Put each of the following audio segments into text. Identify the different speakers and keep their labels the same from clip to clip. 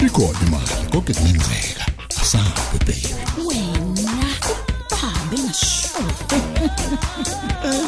Speaker 1: ikhona imali konke kungenzeka asabe baby
Speaker 2: wena uhambe ngisho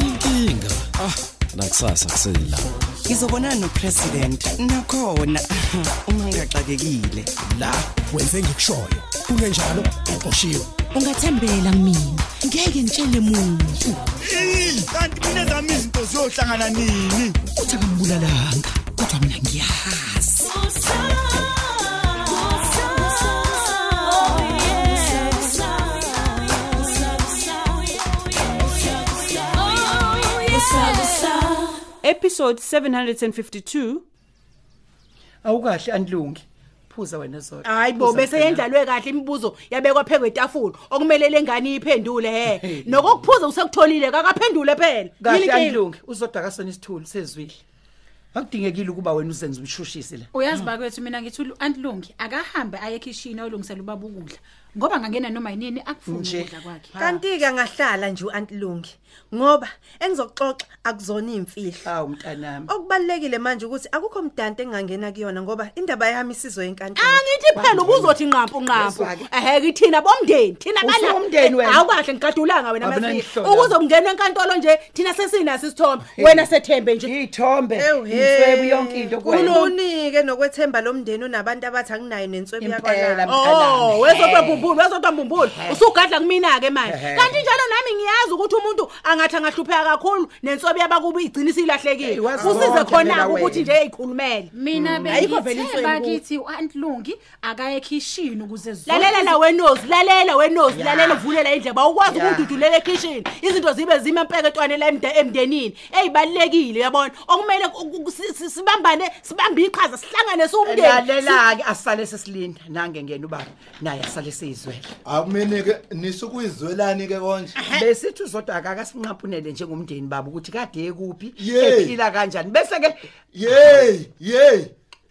Speaker 3: inkinga ah nakusasa kusela
Speaker 4: ngizobonana nopresident nakhona uma ngingaxakekile
Speaker 5: la wenze ngikushoyo kungenjalo uqoshiwe
Speaker 2: ungathembela mina ngeke ngitshele muntu
Speaker 6: kanti mina zami izinto ziyohlangana nini
Speaker 2: uthi akambulalanga kodwa mina ngiyahazi
Speaker 7: episode 752
Speaker 4: awukahle andilungi phuza wena zodwa
Speaker 8: hayi bo bese yendlalwe kahle imibuzo yabekwa phe kwetafula okumele lengane iyiphendule he nokokuphuza usekutholile kakaphendule phela Yini
Speaker 4: kahle
Speaker 8: inkinga?
Speaker 4: andilungi uzodwa kasona isithulu sezwile akudingekile ukuba wena uzenze umshushisi la
Speaker 9: uyazi bakwethu mina ngithi antilungi akahambe aye ekhishini ayolungisela ubaba ukudla ngoba ngangena noma yinini akufuni
Speaker 4: Nje.
Speaker 9: ukudla kwakhe
Speaker 10: kanti-ke angahlala nje u-antilungi ngoba engizokuxoxa akuzona iy'mfihlo
Speaker 4: hawu mntanami
Speaker 10: okubalulekile manje ukuthi akukho mdanto engingangena kuyona ngoba indaba yami isizo yenkantolo
Speaker 8: angithi phela ubuzothi nqampu nqampu eheke thina bomndeni thina bala-
Speaker 4: Usumndeni wena.
Speaker 8: Awu kahle ngigadulanga wena
Speaker 4: Abe
Speaker 8: masizi
Speaker 4: nangihlola.
Speaker 8: ukuzongena enkantolo nje thina sesinaso isithombe wena sethembe nje
Speaker 4: iy'thombe
Speaker 10: Ewu, he.
Speaker 4: inswebu yonke into kuwena
Speaker 10: kulunike nokwethemba lo mndeni onabantu abathi anginayo nenswebu
Speaker 4: impela
Speaker 10: yakwalabo
Speaker 8: Oh,
Speaker 4: mntanami
Speaker 8: wezodwa mbumbulu, wezodwa mbumbulu. Usugadla kumina ke manje.
Speaker 4: Ehhe.
Speaker 8: Kanti njalo nami ngiyazi ukuthi umuntu angathi angahlupheka kakhulu nensobi yabakuba igcina isilahlekile.
Speaker 4: Hey, wazi
Speaker 8: Kusize
Speaker 4: konke
Speaker 8: khona
Speaker 4: phela
Speaker 8: ukuthi
Speaker 4: wena.
Speaker 8: nje eyikhulumele.
Speaker 9: mina
Speaker 8: Ayikho vele inhloni
Speaker 9: bengithemba
Speaker 8: ku-
Speaker 9: kithi u-antilungi akaye ekhishini ukuze zonke
Speaker 8: Lalela la wenozi, lalela wenozi, lalela uvulela indlebe. Awukwazi ukududulela ekhishini. Izinto zibe zima empeketwane la emde- emndenini. Ezibalekile yabona. Okumele ku- ku- si- si- sibambane, sibambe iqhaza, sihlangane siwumndeni.
Speaker 4: lalela-ke Hmm. asale sesilinda nange ngena ubaba naye asale seyizwele
Speaker 6: akumini-ke nisukuyizwelani-ke konje
Speaker 4: besithi uzodwa akakasinqampunele njengomndeni baba ukuthi kade ekuphi
Speaker 6: Yey.
Speaker 4: ephila kanjani bese-ke
Speaker 6: yeyi yeyi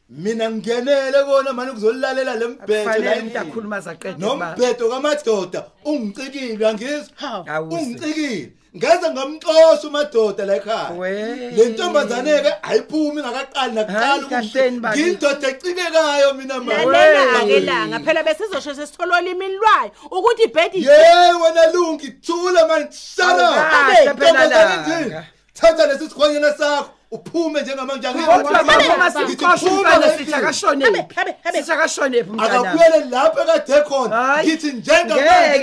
Speaker 6: mina ngingenele kona mani kuzolulalela le mbhedo la
Speaker 4: kufanele umuntu
Speaker 6: endlini.
Speaker 4: akhuluma zaqeda
Speaker 6: nombhedo kamadoda ungicikile angizwa
Speaker 4: Hawu.
Speaker 6: ungicikile ngaze ngamxosha umadoda la
Speaker 4: We.
Speaker 6: ekhaya le ntombazane-ke ayiphumi ngakaqali
Speaker 4: Hhayi, kahleni
Speaker 6: nakuqala
Speaker 4: bakithi.
Speaker 6: ngiyindoda ecikekayo mina ma.
Speaker 8: Lalela-ke
Speaker 6: Wey.
Speaker 8: langa phela besizosheshe sitholola imini lwayo ukuthi ibhedi
Speaker 6: ye wena lungi thula mani
Speaker 4: Awukahle phela langa.
Speaker 6: sharaintombazane thatha lesi sikhwanyana sakho uphume
Speaker 4: kodwa baba sikuqoshumfana sithi
Speaker 6: njengamanjeakaphumele
Speaker 8: Abe, abe,
Speaker 4: akahlonephi
Speaker 8: abe.
Speaker 4: sithi akahlonephi mntanami
Speaker 6: akabuyele lapho ekade khona
Speaker 4: Hhayi.
Speaker 6: ngithi
Speaker 4: Ngeke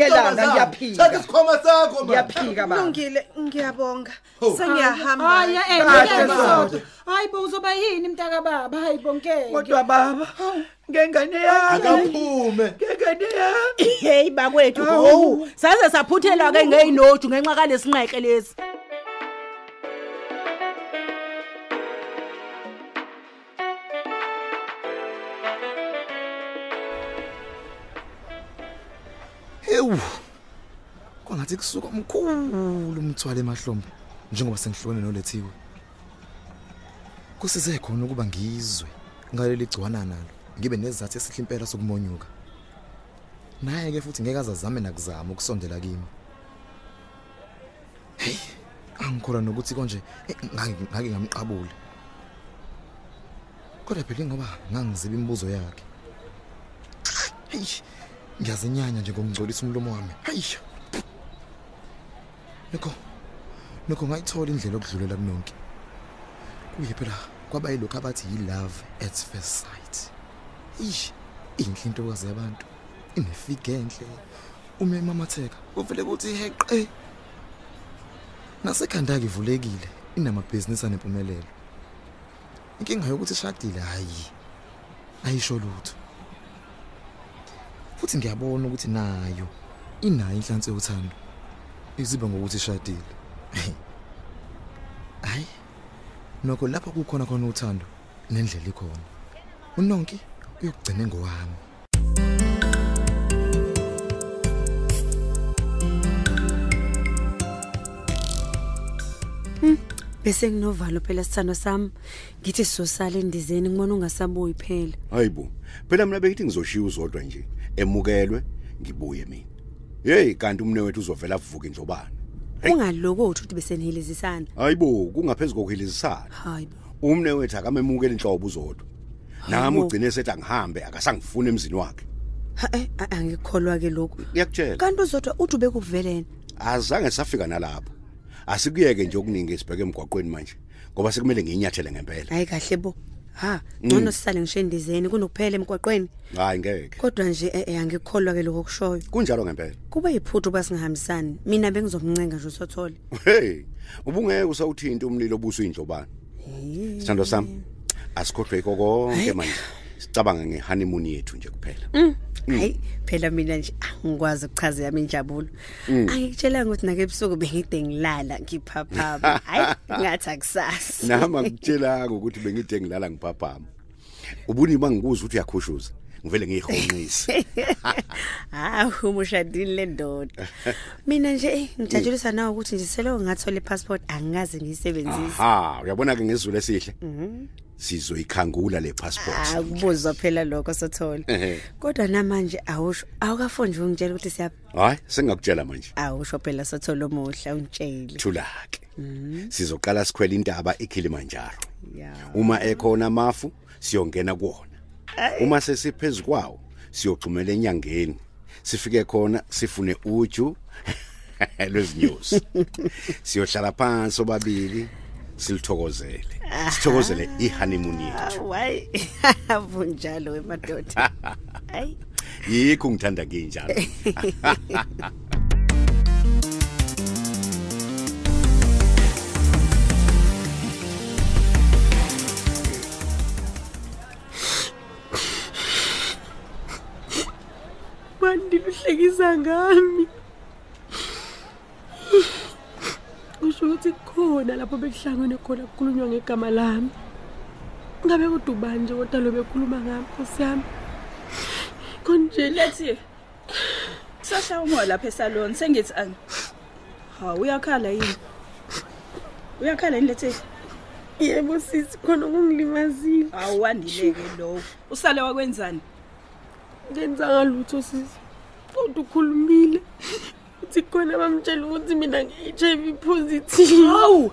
Speaker 4: langa, ngiyaphika.
Speaker 6: njengaathatha isikhwama sakho man.
Speaker 4: ngiyaphika baba
Speaker 10: kulungile ngiyabonga
Speaker 6: Ho.
Speaker 10: sengiyahamba
Speaker 9: Oh. hayi
Speaker 4: Kahle
Speaker 9: eeaoda
Speaker 4: zodwa.
Speaker 9: hayi bo uzoba yini mntaka baba hayi bonkeke
Speaker 4: kodwa baba ngengane yami
Speaker 6: akaphume
Speaker 4: ngengane yami
Speaker 8: heyi bakwethu owu saze saphuthelwa-ke ngey'noju ngenxa kalesinqeqe lesi
Speaker 3: ewu kwangathi kusuka mkhulu umthwalo emahlombe njengoba sengihlukene nolethiwe kusize khona ukuba ngizwe ngaleli gciwana nalo ngibe nezizathu esihle impela sokumonyuka naye-ke futhi ngeke azazame nakuzama ukusondela kimi heyi angikholwa nokuthi konje eh, ngake ngake ngamqabule kodwa phela ingoba ngangiziba imibuzo yakhe heyi ngiyazinyanya nje ngokungcolisa umlomo wami hayi nokho nokho ngayithola indlela yokudlulela kunonke kuye phela kwaba yilokhu abathi yi-love at first sight ish inhle intokazi yabantu inefika enhle uma imamatheka kuvele kuthi heqe nasekhanda-ke ivulekile inamabhizinisi anempumelelo inkinga yokuthi ishadile hhayi ayisho lutho futhi ngiyabona ukuthi nayo inayo inhlansi yothando izibe ngokuthi ishadile hayi nokho lapho kukhona khona uthando nendlela ikhona unonke uyokugcina engowami
Speaker 11: bese nginovalo phela sithando sami ngithi sizosala endizeni ngibona ungasabuyi phela
Speaker 12: hayibo phela mina bekithi ngizoshiya uzodwa nje emukelwe ngibuye mina yeyi kanti umne wethu uzovela avuke njobani Hey.
Speaker 11: ungalokothi ukuthi bese nihilizisana
Speaker 12: hayibo kungaphezu kokuhilizisana
Speaker 11: hayi bo
Speaker 12: umne wethu akamemukeli inhlobo uzodwa nami
Speaker 11: Hayibo.
Speaker 12: ugcine sethi angihambe akasangifuna emzini wakhe
Speaker 11: Ha-e, eh, a- angikholwa ke lokhu
Speaker 12: ngiyakutshela
Speaker 11: kanti uzodwa uthi ubekuvelene
Speaker 12: azange safika nalapho asikuyeke nje okuningi esibheke emgwaqweni manje ngoba sekumele ngiyinyathele ngempela
Speaker 11: hayi kahle bo ha
Speaker 12: Mm.
Speaker 11: ngcono sisale ngisho endizeni kunokuphela emgwaqweni
Speaker 12: hayi ngeke
Speaker 11: kodwa nje e-e angikholwa ke lokho okushoyo
Speaker 12: kunjalo ngempela
Speaker 11: kube yiphutha uba singahambisani mina bengizomncenga nje usothole
Speaker 12: hey ubungeke usawuthinta umlilo obusuyindlobane sithando sami asikhohlwe yikho konke manje sicabanga ngehanimuni yethu nje kuphela
Speaker 11: Mm. hayi phela mina nje angikwazi ukuchaza yami injabulo
Speaker 12: Mm.
Speaker 11: angikutshelanga ukuthi nake ebusuku bengide ngilala ngiphaphama hayi ngathi akusasa
Speaker 12: nami akutshela-ko ukuthi bengide ngilala ngiphaphama ubunima ngikuza ukuthi uyakhushuza ngivele ngiyihonqise
Speaker 11: hawu mushadini le ndoda mina nje eyi ngijatshulisa nawe ukuthi nje seloko ngathola i-passport angikaze ngiyisebenzise
Speaker 12: ha uyabona-ke ngesizulu esihle
Speaker 11: Mhm.
Speaker 12: sizoyikhangula le
Speaker 11: Ah.
Speaker 12: passport
Speaker 11: akubuzwa phela lokho sothole
Speaker 12: Ehhe.
Speaker 11: kodwa namanje awusho awukafo nje ungitshela ukuthi siya
Speaker 12: hhayi sengingakutshela manje
Speaker 11: awusho phela sothole omuhle ungitshele
Speaker 12: thula-ke
Speaker 11: Mhm.
Speaker 12: sizoqala sikhwela intaba ikilimanjaro
Speaker 11: ya
Speaker 12: uma ekhona amafu siyongena kuwona uma sesiphezu kwawo siyogxumela enyangeni sifike khona sifune uju lwezinyosi siyohlala phansi obabili silithokozele sithokozele i-honeymoon
Speaker 11: Ah,
Speaker 12: yethu
Speaker 11: wayi avunjalo wemadoda hayi
Speaker 12: yikho ngithanda kinjalo
Speaker 2: mani ndiluhlekisa ngami kusho ukuthi kukhona lapho bekuhlangene khona kukhulunywa ngegama lami ngabe kudubani nje kodwa lo bekhuluma ngami nkosi yami konje
Speaker 13: Lethe. Sasha umoya lapha esalon sengithi ani. Ha uyakhala yini? Uyakhala yini Lethe?
Speaker 2: yebo sisi khona kungilimazile
Speaker 13: Awuwandileke lowo. Usale wakwenzani?
Speaker 2: ngenzanga lutho sisi kodwa ukhulumile uthi khona bamtshela ukuthi mina nge-h i v positive hawu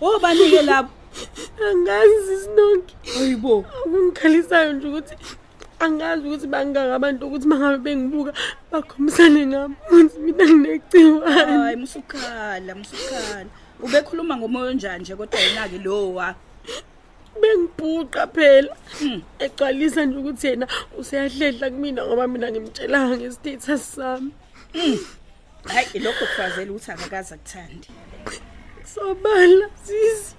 Speaker 13: Obani-ke lapho?
Speaker 2: angazi sisinonke
Speaker 13: oyibo
Speaker 2: okungikhalisayo nje ukuthi angazi ukuthi bangaka abantu ukuthi mangabe bengibuka bakhombisane ngami ukuthi mina
Speaker 13: Hayi
Speaker 2: nginegciwane
Speaker 13: musukhala, musukhala. Ubekhuluma ngomoya onjani nje kodwa yena ke lowo wa. Hmm.
Speaker 2: bengibhuqa phela egcwalisa nje ukuthi yena useyahledla kumina ngoba mina ngimtshelanga ngesistatus sami
Speaker 13: Mm. Hayi lokho kufazela ukuthi akakaza kuthandi.
Speaker 2: sobala sisi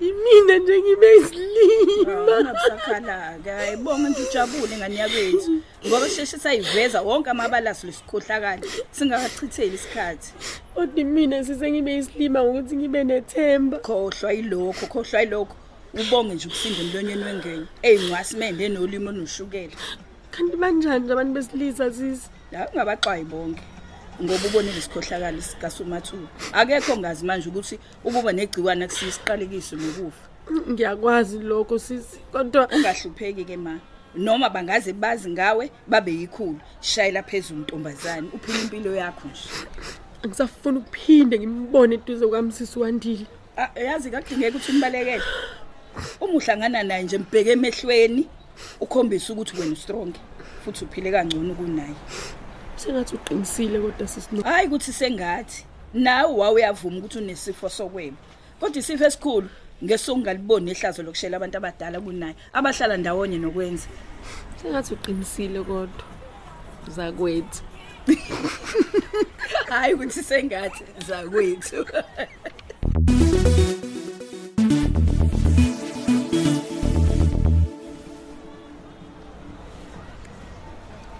Speaker 2: imina nje ngibe
Speaker 13: Ah,
Speaker 2: isilima
Speaker 13: ungabusakhala-ke hayi bonge nje ujabule ngani yakwethu ngoba sheshe sayiveza wonke amabalaso lesikhohlakala singakachitheli isikhathi
Speaker 2: kodwa mina sisengibe isilima ngokuthi ngibe nethemba
Speaker 13: khohlwa yilokho khohlwa yilokho ubonge nje ukusinde emlonyeni wengenye ey'ncwasi mende enolimi olunoshukela
Speaker 2: kanti banjani nje abantu besilisa sisi
Speaker 13: la ungabaxwayi bonke ngoba ubonile isikhohlakalo sikasumathuba akekho ngazi manje ukuthi ukuba negciwane akusiyo isiqalekiso nokufa
Speaker 2: Mm, ngiyakwazi lokho sisi kodwa
Speaker 13: ungahlupheki-ke ma noma bangaze bazi ngawe babe yikhulu shayela phezulu ntombazane uphile impilo yakho nje
Speaker 2: angisafuna ukuphinde ngimbone eduze kwami sisi wandile
Speaker 13: Ah, yazi kakudingeka ukuthi umbalekele uma uhlangana naye nje mbheke emehlweni ukhombise ukuthi wena ustrong futhi uphile kangcono kunaye
Speaker 2: sengathi uqinisile kodwa sisi
Speaker 13: hhayi ukuthi sengathi nawe wawuyavuma ukuthi unesifo sokweba kodwa isifo esikhulu ngesokungaliboni ihlazo lokushela abantu abadala kunaye abahlala ndawonye nokwenza
Speaker 2: sengathi uqinisile kodwa zakwethu
Speaker 13: hhayi ukuthi sengathi zakwethu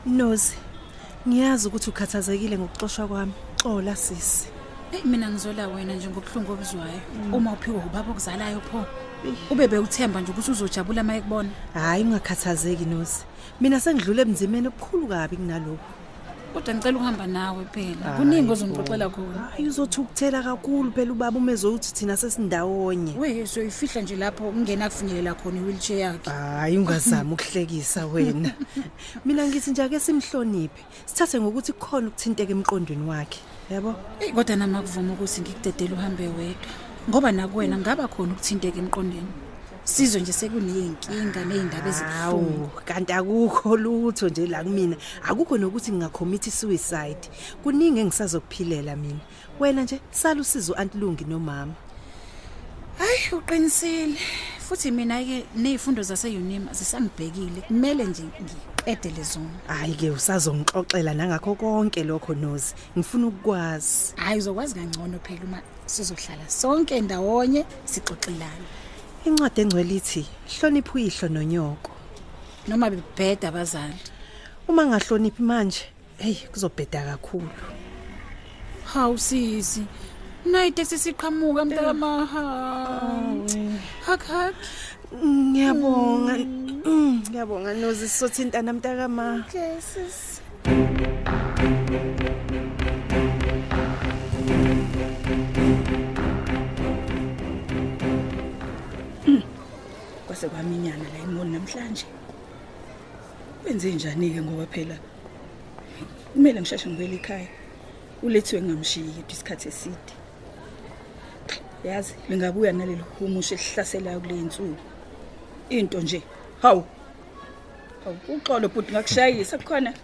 Speaker 10: Nozi, ngiyazi ukuthi ukhathazekile ngokuxoshwa kwami. Xola sisi.
Speaker 9: eyi mina ngizola wena nje ngobuhlungu obuzwayo
Speaker 10: Mm.
Speaker 9: uma uphiwe ubaba okuzalayo pho ube bewuthemba nje ukuthi uzojabula uma ekubona
Speaker 10: Hayi ungakhathazeki Nozi. Mina sengidlule emzimeni obukhulu kabi kunalokho.
Speaker 9: kodwa ngicela ukuhamba nawe phela
Speaker 10: Hayi
Speaker 9: kuningi
Speaker 10: bo.
Speaker 9: ozongixoxela khona
Speaker 10: Hayi uzothukuthela kakhulu phela ubaba uma ezothi thina sesindawonye.
Speaker 9: we soyifihla nje lapho kungena kufinyelela khona i-wheelchair yakhe
Speaker 10: Hayi ungazami ukuhlekisa wena. Mina ngithi nje ake simhloniphe. Sithathe ngokuthi kukhona ukuthinteka emqondweni wakhe. Yabo?
Speaker 9: eyi kodwa nama kuvuma ukuthi ngikudedele uhambe wedwa ngoba nakuwena ngaba khona ukuthinteka emqondweni sizwe nje sekuney'nkinga ney'ndaba ezibuhlungu
Speaker 10: awu kanti akukho lutho nje la kumina akukho nokuthi ngingakhomithi i-suicide kuningi engisazokuphilela mina wena nje sala usizo antilungi nomama
Speaker 9: hayi uqinisile futhi mina-ke ney'fundo zaseyunima zisangibhekile kumele nje ngiqedele zona
Speaker 10: hhayi-ke usazongixoxela nangakho konke lokho nozi ngifuna ukukwazi
Speaker 9: hhayi uzokwazi kangcono phela uma sizohlala sonke ndawonye sixoxelana
Speaker 10: incwadi engcwele ithi hlonipha uyihlo nonyoko
Speaker 9: noma bebheda abazali
Speaker 10: uma ngahloniphi manje heyi kuzobheda kakhulu
Speaker 9: hawu sisi nayi teksi siqhamuka mntakamaha hakhakhi
Speaker 10: ngiyabonga Mm, ngiyabonga nozi sizothintana mntakama
Speaker 13: kwase kwaminyana la imoli namhlanje kwenze njani-ke ngoba phela kumele ngisheshe ngibuyele ekhaya ulethiwe ngingamshiyi yedwa isikhathi eside yazi lingabuya naleli humusha elihlaselayo kule nsuku into nje hawu hawu uxolo bhuti ngakushayisa kukhona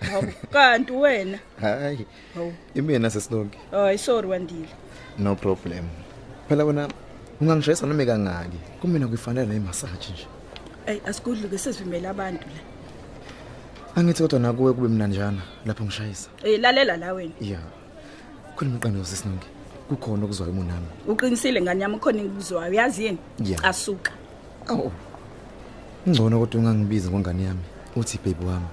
Speaker 13: hawu kanti wena
Speaker 3: hayi
Speaker 13: hawu
Speaker 3: imina sesilonke
Speaker 13: hayi sorry wandile
Speaker 3: no problem phela wena ungangishayisa noma kangaki kumina kuyifanele nemasaji nje
Speaker 13: eyi asikudluke sezivimele abantu la
Speaker 3: angithi kodwa nakuwe kube mna njana lapho ngishayisa
Speaker 13: eyi lalela la wena
Speaker 3: ya khona umqando sesilonke kukhona okuzwayo munami
Speaker 13: uqinisile ngane yami khona engikuzwayo uyazi yini
Speaker 3: Ya.
Speaker 13: asuka
Speaker 3: awu ngcono kodwa ungangibizi ngongane yami uthi ibhebi wami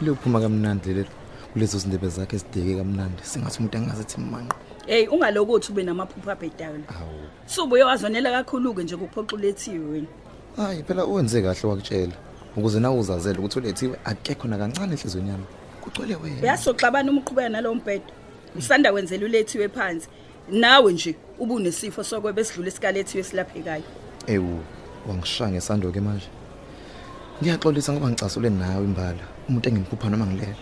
Speaker 3: liyophuma kamnandi lelo kulezo zindebe zakhe ezideke kamnandi singathi umuntu angazethi manqa
Speaker 13: eyi ungalokothi ube namaphupho abhedayo la subuye wazonela kakhulu-ke nje kuphoxa ulethiwe wena
Speaker 3: hayi phela uwenze kahle wakutshela ukuze nawe uzazele ukuthi ulethiwe akekho nakancane enhliziyweni yami kugcwele wena
Speaker 13: uyasoxabana uma uqhubeka nalowo mbhedo usanda kwenzela ulethiwe phansi nawe nje ubunesifo sokweba esidlula esikalethiwe esilaphekayo
Speaker 3: ewu wangishaya ngesando-ke manje ngiyaxolisa ngoba ngicasule nawe imbala umuntu engimphupha noma ngilele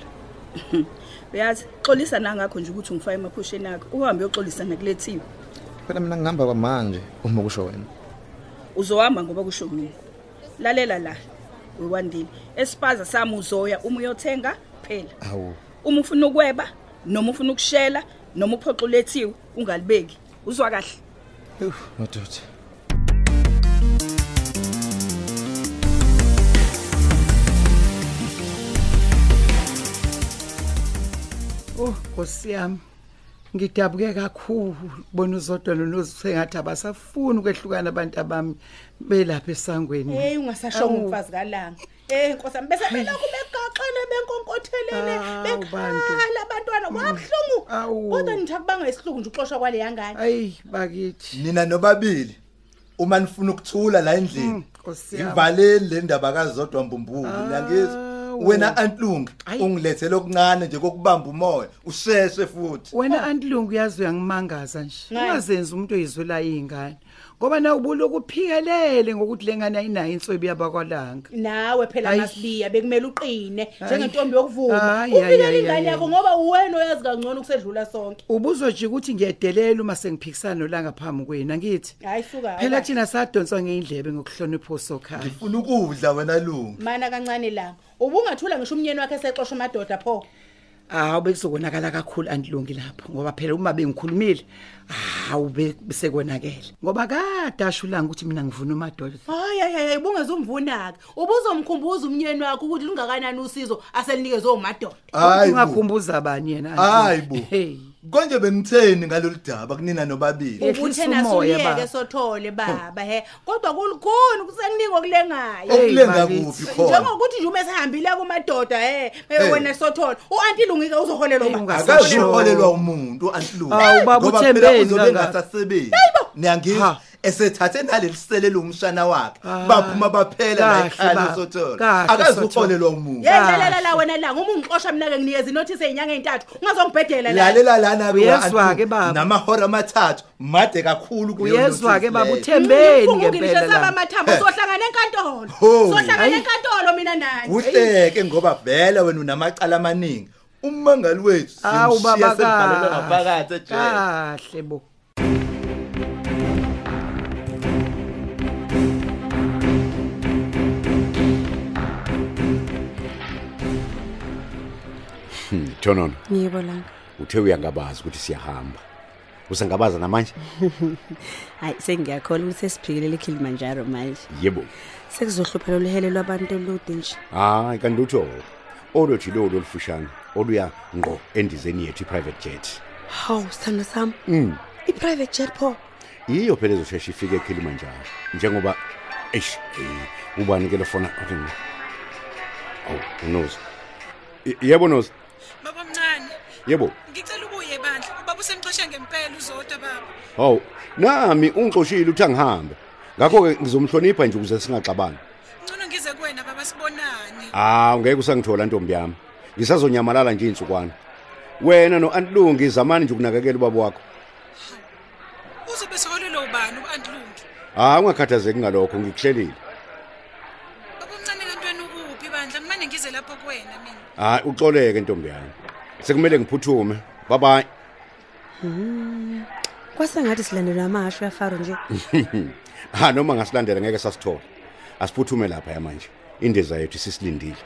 Speaker 13: uyazi xolisa nangakho nje ukuthi ungifake emaphusheni akho uhambe uyoxolisa nakulethiwe
Speaker 3: phela mina ngihamba kwamanje uma kusho wena
Speaker 13: uzohamba ngoba kusho mina lalela la uwandile esipaza sami uzoya uma uyothenga phela
Speaker 3: hawu
Speaker 13: uma ufuna ukweba noma ufuna ukushela noma uphoxa ulethiwe ungalibeki uzwa kahle
Speaker 3: madoda
Speaker 4: Oh Nkosi yami. Ngidabuke kakhulu bona uzodwa nonosengathi abasafuni ukwehlukana abantu abami belapha esangweni.
Speaker 8: heyi ungasashongo
Speaker 4: Awu,
Speaker 8: umfazi kalanga ey nkosi ami bese belokhu begaxele benkonkothelele
Speaker 4: Ah,
Speaker 8: bekhala
Speaker 4: Mm.
Speaker 8: abantwana kwabuhlungu kodwa nithi akubanga isihlungu nje ukuxoshwa kwaleya ngane
Speaker 4: Ayi bakithi.
Speaker 6: nina nobabili uma nifuna ukuthula la endlini
Speaker 4: Mm, Nkosi yami. Ah,
Speaker 6: ivaleni le ndaba kazodwa mbumbulu nangizwa wena antlungu
Speaker 4: Ayi.
Speaker 6: ungilethele okuncane nje kokubamba umoya usheshe futhi
Speaker 4: Wena antilungu uyazi uyangimangaza nje.
Speaker 6: Ngayi.
Speaker 4: Ungazenzi umuntu oyizwela ingane. Ngoba na ubuloku uphikelele ngokuthi lengane ayinayo inswebi yabakwalanga.
Speaker 8: nawe phela
Speaker 4: Ayi.
Speaker 8: masibiya bekumele uqine
Speaker 4: Ayi.
Speaker 8: njengentombi yokuvuma
Speaker 4: Ayi, ayi,
Speaker 8: uvikele
Speaker 4: ayi,
Speaker 8: ingane
Speaker 4: ayi,
Speaker 8: yakho
Speaker 4: ayi.
Speaker 8: ngoba uwena oyazi kangcono ukusedlula sonke
Speaker 4: Ubuzwa nje ukuthi ngiyedelela uma sengiphikisana nolanga phambi kwena ngithi.
Speaker 8: hayi suka
Speaker 4: Phela thina sadonswa ngeindlebe ngokuhlonipha usokhaya.
Speaker 6: Ngifuna ukudla wena lungu.
Speaker 8: mana kancane la ubungathula ngisho umnyeni wakhe esexosha umadoda pho
Speaker 4: hawu bekuzobonakala kakhulu antilungi lapho ngoba phela uma bengikhulumile hawu besekonakele ngoba kade ashulanga ukuthi mina ngivuna umadoda
Speaker 8: hayi hayi hayi ubungezumvuna-ke ubuzomkhumbuza umnyeni wakho ukuthi lungakanani usizo aselinikeze umadoda
Speaker 6: Hayi bo.
Speaker 4: ungakhumbuza bani yena
Speaker 6: hayi bo konje benitheni ngalolu daba kunina nobabili
Speaker 8: ukuthi nasuliyeke sothole baba he kodwa kulukhuni kusekuningi okulengayo
Speaker 6: Okulenga Hey, kuphi bakithi. khona?
Speaker 8: njengokuthi nje uma esehambile kumadoda he eh,
Speaker 6: Hey.
Speaker 8: wena sothole u-antilungike uzoholelwa ba-
Speaker 6: akazuholelwa umuntu antlungu
Speaker 4: Hawu, baba, uthembeni
Speaker 6: uzobe
Speaker 4: kangaka.
Speaker 6: ngasasebenzi niyangizwa esethathe naleli selelo umshana wakhe baphuma baphela la
Speaker 4: Kahle,
Speaker 6: ekhaya
Speaker 4: baba.
Speaker 6: sothola
Speaker 4: Kahle,
Speaker 6: akazuholelwa umuntu
Speaker 8: yendlalela la wena la uma ungixosha mina-ke nginikeza inothisi ey'nyanga ey'ntathu ungazongibhedela la.
Speaker 6: lalela lana
Speaker 4: Uyezwa-ke baba.
Speaker 6: namahora amathathu made kakhulu kuleyo
Speaker 4: Uyezwa-ke
Speaker 6: notice
Speaker 4: baba,
Speaker 6: leyo.
Speaker 4: uthembeni
Speaker 8: Ufunga ungilishe saba amathambo
Speaker 6: He.
Speaker 8: sohlangana enkantolo
Speaker 6: Ho.
Speaker 8: sohlangana
Speaker 6: Hayi.
Speaker 8: enkantolo mina nani
Speaker 6: kuhleke ngoba vela wena unamacala amaningi ummangali wethu
Speaker 4: Hawu,
Speaker 6: simshiya
Speaker 4: baba,
Speaker 6: semvalelwe
Speaker 4: kahle.
Speaker 6: ngaphakathi ejele
Speaker 4: kahle bo
Speaker 12: thonono
Speaker 11: Yebo langa.
Speaker 12: Hmm, uthe uyangabazi ukuthi siyahamba usangabaza namanje
Speaker 11: Hayi sengiyakhola ukuthi sesiphikelele eKilimanjaro manje.
Speaker 12: yebo
Speaker 11: Sekuzohlupha loluhele lwabantu olude nje.
Speaker 12: hayi kanti utho olothi lolo olufushane oluya ngqo endizeni yethu i-private jet
Speaker 11: Hawu sithando sami.
Speaker 12: mm.
Speaker 11: I-private jet pho.
Speaker 12: yiyo phela ezoshesha ifike eKilimanjaro njengoba eish eh, ubani ke lofona awu unozi Ye- yebo nozi
Speaker 14: Baba mncane,
Speaker 12: yebo
Speaker 14: ngicela ubuye ebandla. Ubaba usemxosha ngempela uzodwa baba.
Speaker 12: hawu nami ungixoshile uthi angihambe ngakho-ke ngizomhlonipha nje ukuze singaxabani
Speaker 14: Ngcono ngize kuwena baba sibonane.
Speaker 12: hawu ngeke Ah, usangithola ntombi yami ngisazonyamalala nje iy'nsukwana wena no-antilungi zamani nje ukunakekela ubaba wakho
Speaker 14: Uzobe seholelwe ubani uAntlungi?
Speaker 12: hayi Ah, ungakhathazeki ngalokho ngikuhlelile
Speaker 14: Baba mncane kantweni ukuphi bandla? Ngimane ngize lapho kuwena mina.
Speaker 12: hayi Ah, uxoleke ntombi yami sekumele ngiphuthume babayi
Speaker 11: Mm. Kwasengathi silandelwa amahashe yaFaro nje.
Speaker 12: ha Ah, noma ngasilandela ngeke sasithola asiphuthume lapha yamanje indiza yethu sisilindile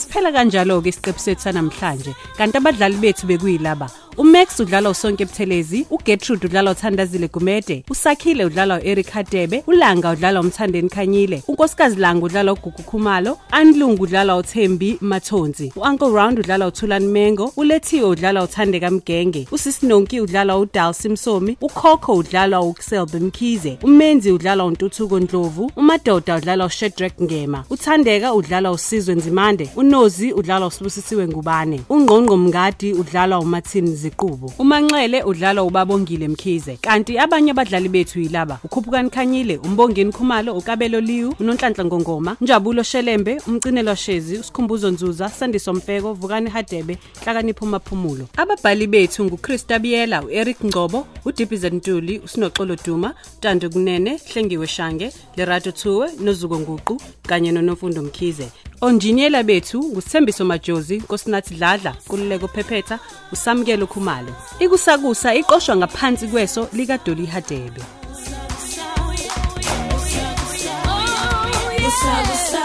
Speaker 7: Siphela kanjalo ke isiqephu sethu sanamhlanje. Kanti abadlali bethu bekuyilaba. uMax udlalwa uSonke Buthelezi, uGertrude udlalwa uThandazile Gumede, uSakhile udlalwa uEric Hadebe, uLanga udlalwa uMthandeni Khanyile, uNkosikazi Langa udlalwa uGugu Khumalo, Anlungu udlalwa uThembi Mathonzi, uUncle Round udlalwa uThulani Mengo, uLethiwe udlalwa uThandeka Mgenge, uSisinonki udlalwa uDalsi Msomi, uKhokho udlalwa uKselbe Mkhize, uMenzi udlalwa uNtuthuko Ndlovu, uMadoda udlalwa uShedrack Ngema, uThandeka udlalwa uSizwe Nzimande, uNozi udlalwa uSibusisiwe Ngubane, uNgqongqo Mngadi udlalwa uMathini Ziqubo, uManxele udlalwa uBabongile Mkhize, kanti abanye abadlali bethu yilaba uKhuphukani Khanyile, uMbongeni Khumalo, uKabelo Liwu, uNonhlanhla Ngongoma, Njabulo Shelembe, uMcinelwa Shezi, uSikhumbuzo Nzuza, Sandiso Mfeko, Vukani Hadebe, Hlakanipho Maphumulo. Ababhali bethu nguChrista Biyela, uEric Ngcobo, uDiphizan Ntuli, uSinoxolo Duma, Tando Kunene, Hlengiwe Shange, Lerato Thuwe, noZuko Nguqu kanye noNomfundo Mkhize. Onjiniyela bethu ngusithembiso majozi nkosinathi dladla kululeko phephetha usamukelo khumalo ikusakusa iqoshwa ngaphansi kweso likadoli hadebe
Speaker 14: Usakusa.